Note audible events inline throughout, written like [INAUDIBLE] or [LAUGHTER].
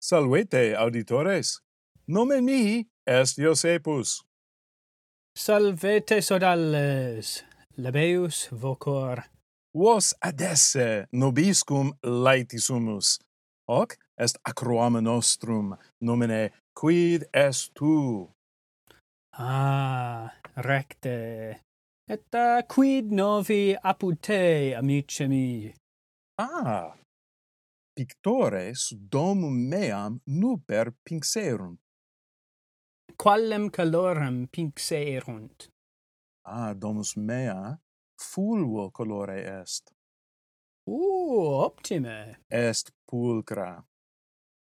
Salvete, auditores. Nomen mihi est Iosepus. Salvete sodales, labeus vocor. Vos adesse nobiscum laetisumus. Hoc est acroam nostrum, nomine quid est tu? Ah, recte. Et uh, quid novi apud te, amice mi? Ah, pictores domum meam nuper pinxerunt. Quallem calorem pinxerunt? Ah, domus mea fulvo colore est. Uh, optime. Est pulcra.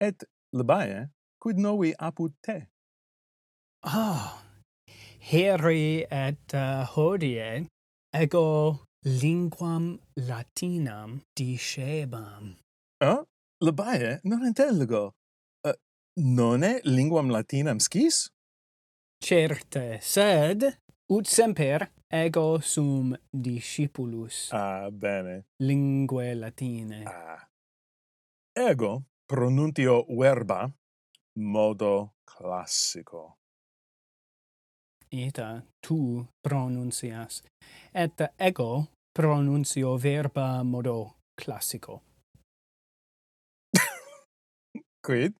Et labae, quid novi apud te? Ah, heri et uh, hodie ego linguam latinam discebam. Eh? Labae, non intelligo. Uh, nonne linguam latinam scis? Certe, sed ut semper ego sum discipulus Ah, bene. linguae latine. Ah. Ego pronuntio verba modo classico. Eta tu pronuncias et ego pronuncio verba modo classico. Quid?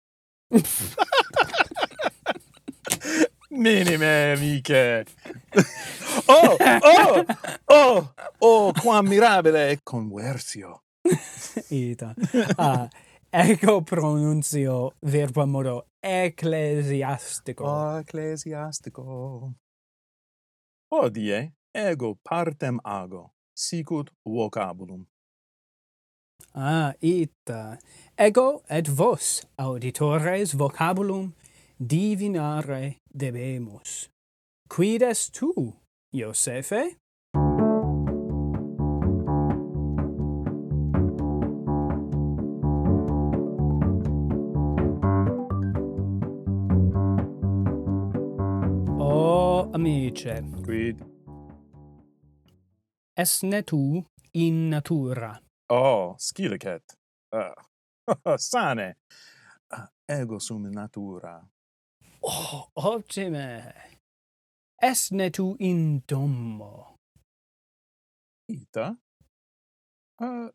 [LAUGHS] Minime, amiche. oh, oh, oh, oh, quam mirabile conversio. Eta ah, ego pronuncio verba modo ecclesiastico. Oh, ecclesiastico. Hodie ego partem ago, sicut vocabulum. Ah, ita. Ego et vos, auditores, vocabulum divinare debemus. Quid est tu, Iosefe? O, Oh, amice, Quid? esne tu in natura? Oh, scilicet. Ah. [LAUGHS] Sane. Ah, ego sum in natura. Oh, optime. Esne tu in domo. Ita? Ah,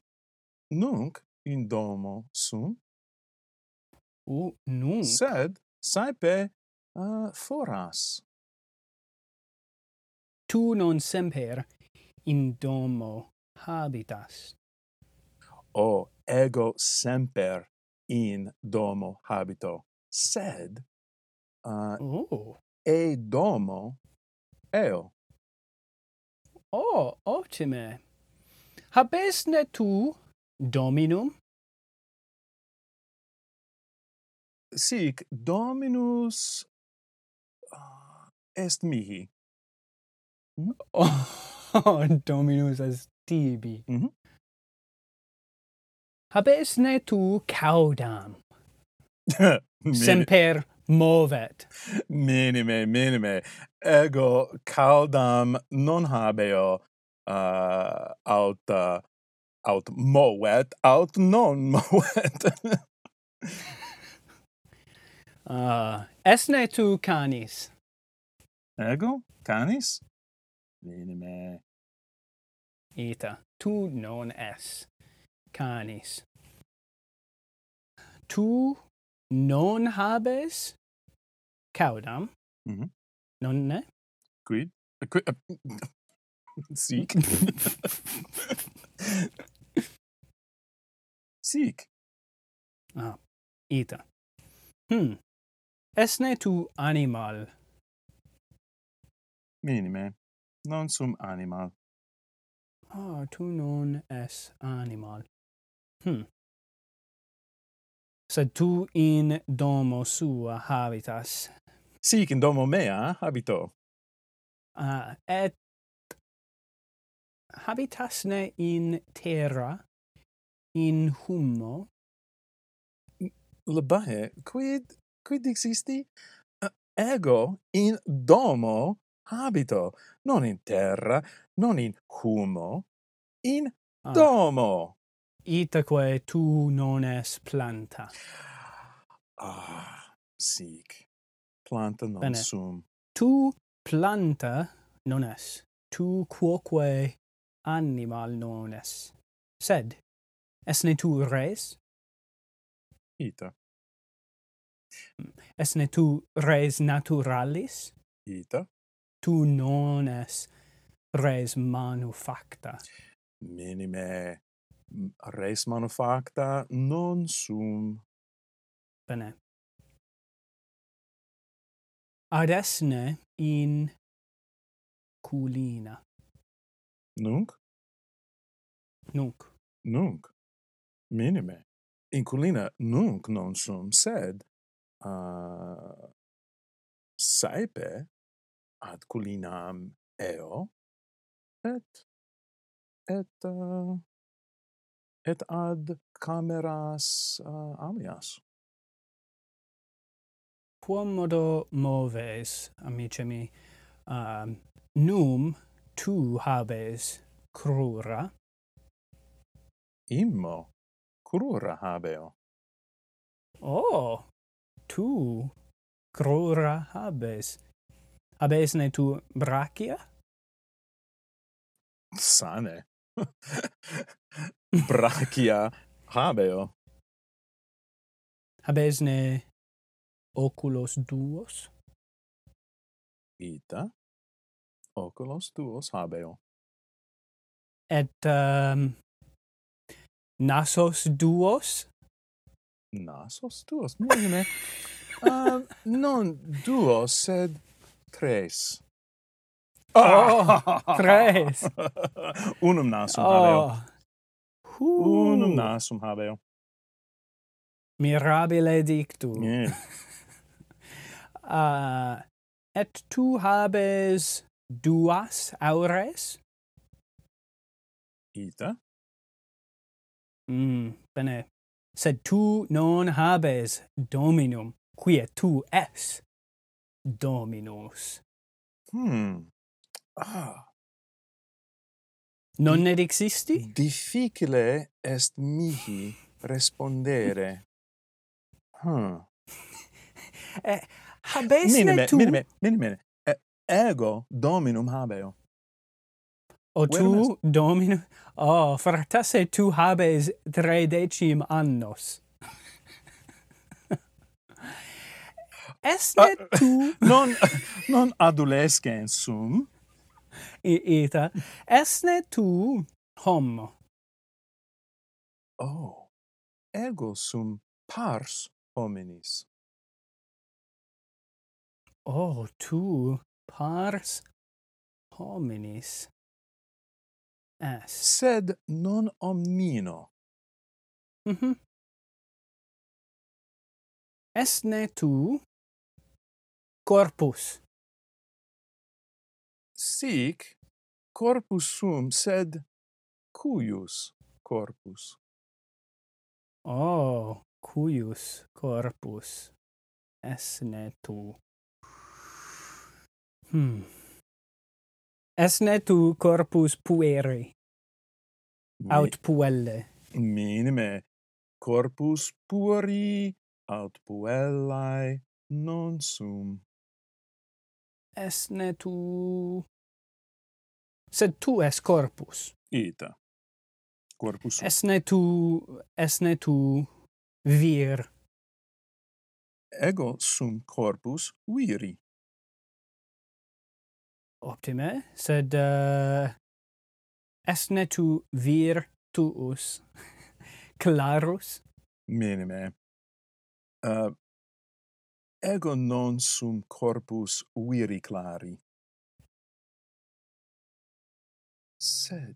nunc in domo sum, U nun. sed saepe ah, foras. tu non semper in domo habitas. O ego semper in domo habito, sed ah, Oh, e domo eo. oh, optime. Habesne tu dominum? Sic dominus ah, est mihi. [LAUGHS] [LAUGHS] Oh, dominus est tibi. Mhm. Habesne tu caudam, Mini- semper movet. minime minime ego caldam non habeo uh, aut uh, aut movet aut non [LAUGHS] movet Ah, esne tu canis? ego canis minime Eta, tu non es canis. Tu non habes caudam, Mhm. nonne? quid quid eh, [LAUGHS] sic sic Ah, eta. Hm. Esne tu animal? minime non sum animal Ah, tu non es animal. Hm. Sed tu in domo sua habitas. sic in domo mea habito Ah, et habitasne in terra in hummo labae quid quid existi Uh, ego in domo habito non in terra non in humo in Ah, domo itaque tu non es planta Ah, sic. Planta non Bene. sum. Tu planta non es, tu quoque animal non es, sed esne tu res, Ita, esne tu res naturalis, ita, tu non es res manufacta. minime m- res manufacta non sum. Bene. Ad esne in culina, Nunc, nunc, nunc, minime. Inculina nunc non sum, sed uh, saepe ad culinam eo, et, et, uh, et ad cameras uh, alias. quomodo moves, amice mi, um, num tu habes crura, Immo crura habeo. oh, tu crura habes. Habesne tu brachia? Sane. [LAUGHS] Brachia habeo. Habesne oculos duos? Ita. Oculos tuos habeo. Et um, nasos duos? Nasos tuos. Minime. uh, non duos, sed tres. Ah! [LAUGHS] tres. [LAUGHS] Ah. Unum nasum habeo. Oh. Huh. Unum nasum habeo. Mirabile dictu. Yeah. Ah, et tu habes duas aures? Ita. Mm, bene. Sed tu non habes dominum, quia tu es dominus. Hmm. Ah. Non ed existi? Difficile est mihi respondere. Hmm. Eh, habesne minime, tu? minime, minime. E- ego dominum habeo. O Wait a tu dominum? Oh, fratase tu habes tredecim annos. [LAUGHS] Esne tu, Non, [LAUGHS] non adolescens sum. I- ita, esne tu homo? Oh, ego sum pars hominis. Oh, tu pars hominis es. Sed non omnino. Mhm. Esne tu corpus? Sic corpus sum, sed cuius corpus. Oh, cuius corpus esne tu. Hmm. Esne tu corpus pueri, aut puelle. Mi, minime corpus pueri aut puellae non sum. Esne tu... Sed tu es corpus. Ita. Corpus sum. Esne tu... Esne tu vir. ego sum corpus viri. Optime. Sed... Uh, esne tu vir tuus. [LAUGHS] Clarus. Minime. Uh, ego non sum corpus viri clari. Sed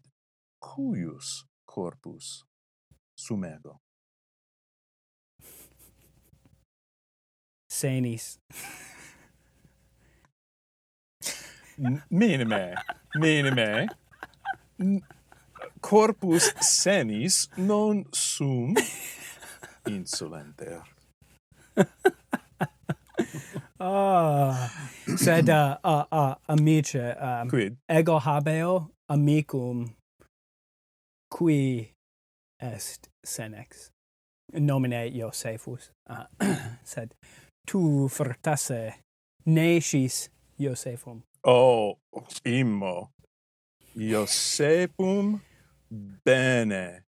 cuius corpus sum ego? Senis. M- minime. Minime. N- corpus senis non sum insolenter. Ah, sed uh, uh, uh, amice, um, Quid? ego habeo amicum qui est senex. nomine Iosephus, ah, [CLEARS THROAT] sed tu fortasse nescis Iosephum. Oh, immo. Iosepum bene.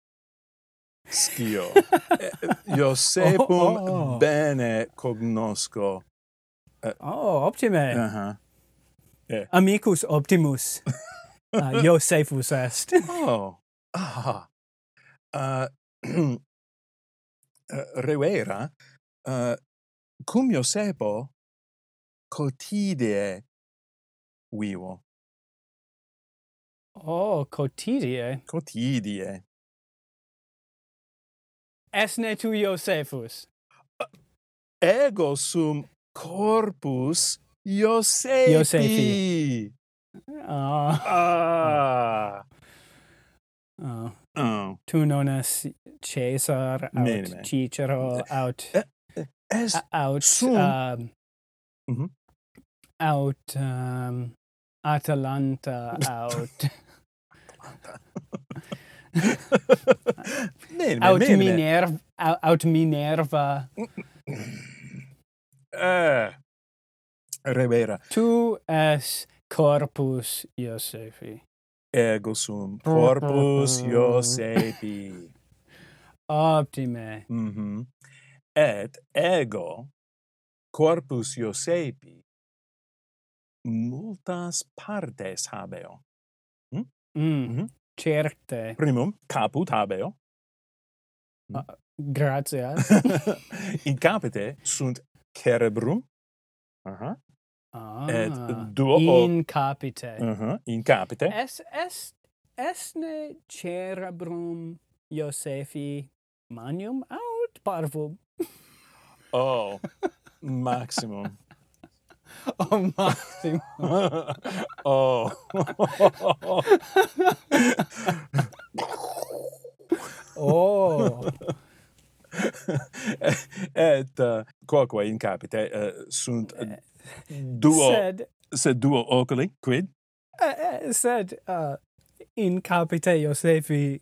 Scio. Eh, Iosepum [LAUGHS] Oh, oh, oh. bene cognosco. Oh, optime. Uh-huh. Amicus optimus. Ah, Iosephus est. Oh. Ah. Uh, [CLEARS THROAT] uh, Revera, uh, cum Iosepo cotidie vivo. Oh, cotidie. Cotidie. Esne tu Iosephus. Ego sum corpus Iosepi. Iosepi. Ah, Ah. ah. Oh. tu non es Caesar, aut Bene, bene. Eh, Cicero, aut Est [LAUGHS] a- aut sum- um, Mhm. aut um, Atalanta, [LAUGHS] aut Bene, aut bene. Minerva, au- aut Minerva. Eh. Revera, Tu es corpus Iosepi. ego sum corpus Iosepi. Optime. Mhm. Et ego corpus Iosepi multas partes habeo. Mm. Mhm. Certe. Primum caput habeo, Grazie. [LAUGHS] in capite sunt cerebrum, aha, Ah. [LAUGHS] Et duo- in capite. aha, in capite, Es es esne cerebrum Iosefi manium aut parvum. oh, maximum. [LAUGHS] Oh maxim. oh. [LAUGHS] [LAUGHS] oh. et uh, quoque in capite uh, sunt uh, duo sed, Sed duo oculi quid eh, eh, sed uh, in capite Iosefi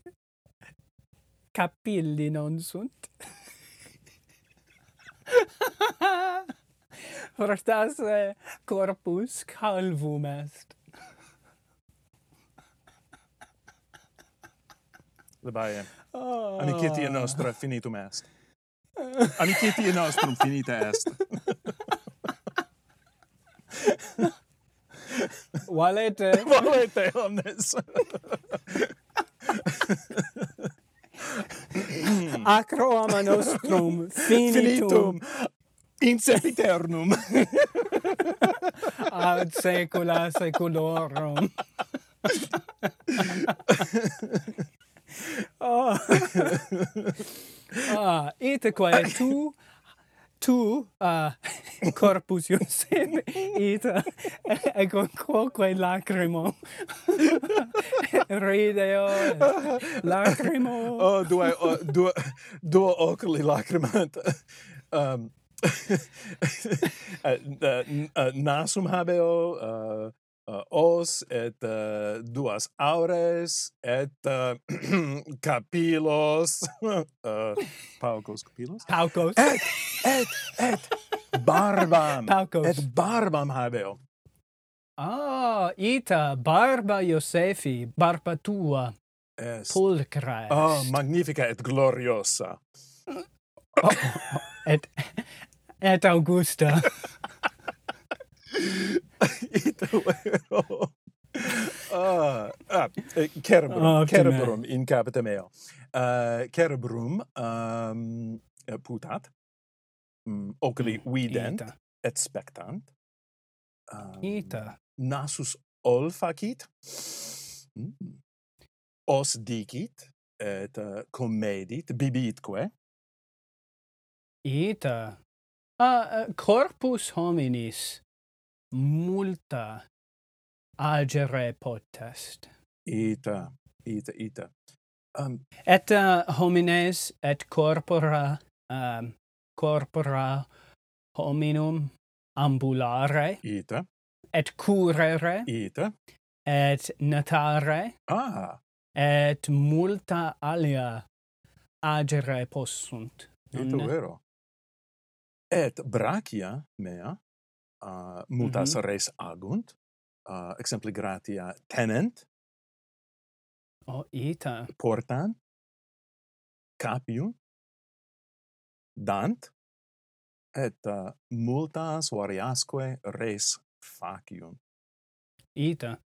capilli non [LAUGHS] sunt. Fortasse corpus calvum est. labae Oh. amicitia nostra finitum [LAUGHS] est amicitia nostrum finita est Valete. valete omnes acro ama nostrum finitum finitum in sepiternum ad saecula saeculorum. oh. ah, itaque tu tu uh, corpus Iosem ita ego quoque lacrimo rideo et lacrimo oh duo o- duo duo oculi lacrimant [LAUGHS] um [LAUGHS] uh, uh, n- uh, nasum habeo uh, uh, os et uh, duas aures et uh, [CLEARS THROAT] capillos [LAUGHS] uh, paucos capillos Paucos. et et et barbam Paucos. et barbam habeo Ah, ita barba Iosefi, barba tua, est pulcra est. oh magnifica et gloriosa et, [LAUGHS] et Augusta. [LAUGHS] Either way. oh. Ah, ah, eh, cerebrum, Optime. cerebrum in capita meo. Uh, cerebrum um, eh, putat, mm, oculi vident Ita. et spectant. Um, Ita. Nasus olfacit, mm, os dicit, et uh, comedit, bibitque. Ita. Ah, eh, corpus hominis multa agere potest. Ita, ita, ita. Um, Et uh, homines et corpora um, corpora hominum ambulare ita, et curere ita. et natare Ah, et multa alia agere possunt. Ito Mm. vero. Et brachia mea uh, multas Mhm. res agunt, uh, exempli gratia tenent, Oh, ita. portant, capiunt, dant, et uh, multas variasque res faciunt. Ita.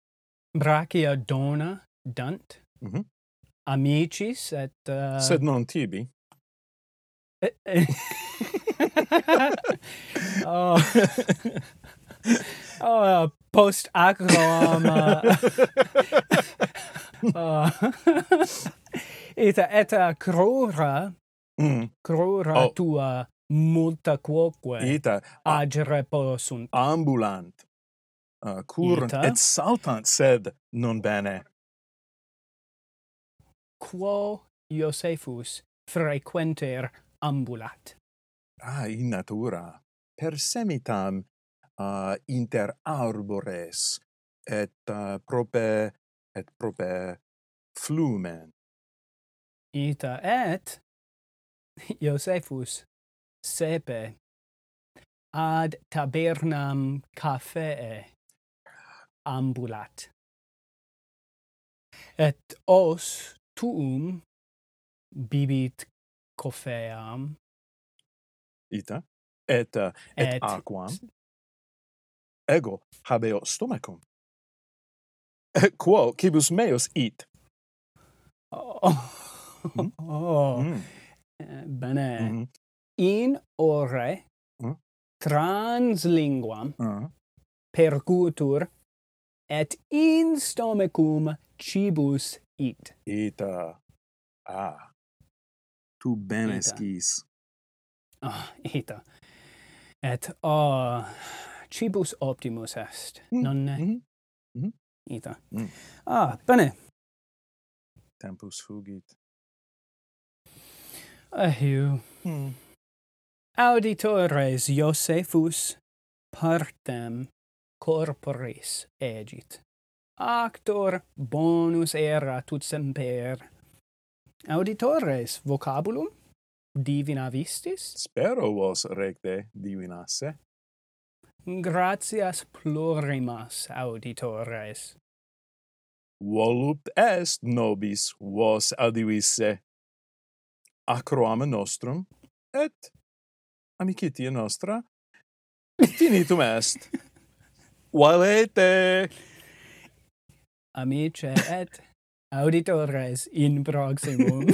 Brachia dona dant. Mhm. Amicis et... Uh, Sed non tibi. eh, [LAUGHS] eh. oh. oh, uh, post acroam. Uh, uh, [LAUGHS] ita et uh, crura, [LAUGHS] Mm. crura Oh. tua multa quoque Ita agere possunt. ambulant uh, curunt Ita. et saltant sed non bene. Quo Iosephus frequenter ambulat. Ah, in natura persemitam uh, inter arbores et uh, prope et prope flumen. Ita et [LAUGHS] Iosephus sepe ad tabernam cafee ambulat. Et os tuum bibit coffeam Ita et uh, et, Et- aquam ego habeo stomacum. Et quo cibus meus eat. Oh. Mm. [LAUGHS] Oh. Mm. Eh, Bene. Mhm. In ore Mm. trans linguam Ah. percutur et in stomacum cibus eat. Ita ah tu bene Ita. skis. Ah, ita. Et ah cibus optimus est. Mm, Nonne mhm. ita. Mm. Ah, bene. Tempus fugit. Eheu. Mm. Auditores Iosephus partem corporis egit. Actor bonus era tut semper. Auditores vocabulum divina vistis? Spero vos recte divinasse. Gratias plurimas auditores. volupt est nobis vos adivisse acroam nostrum et amicitia nostra finitum est valete Amice et auditores in proximum.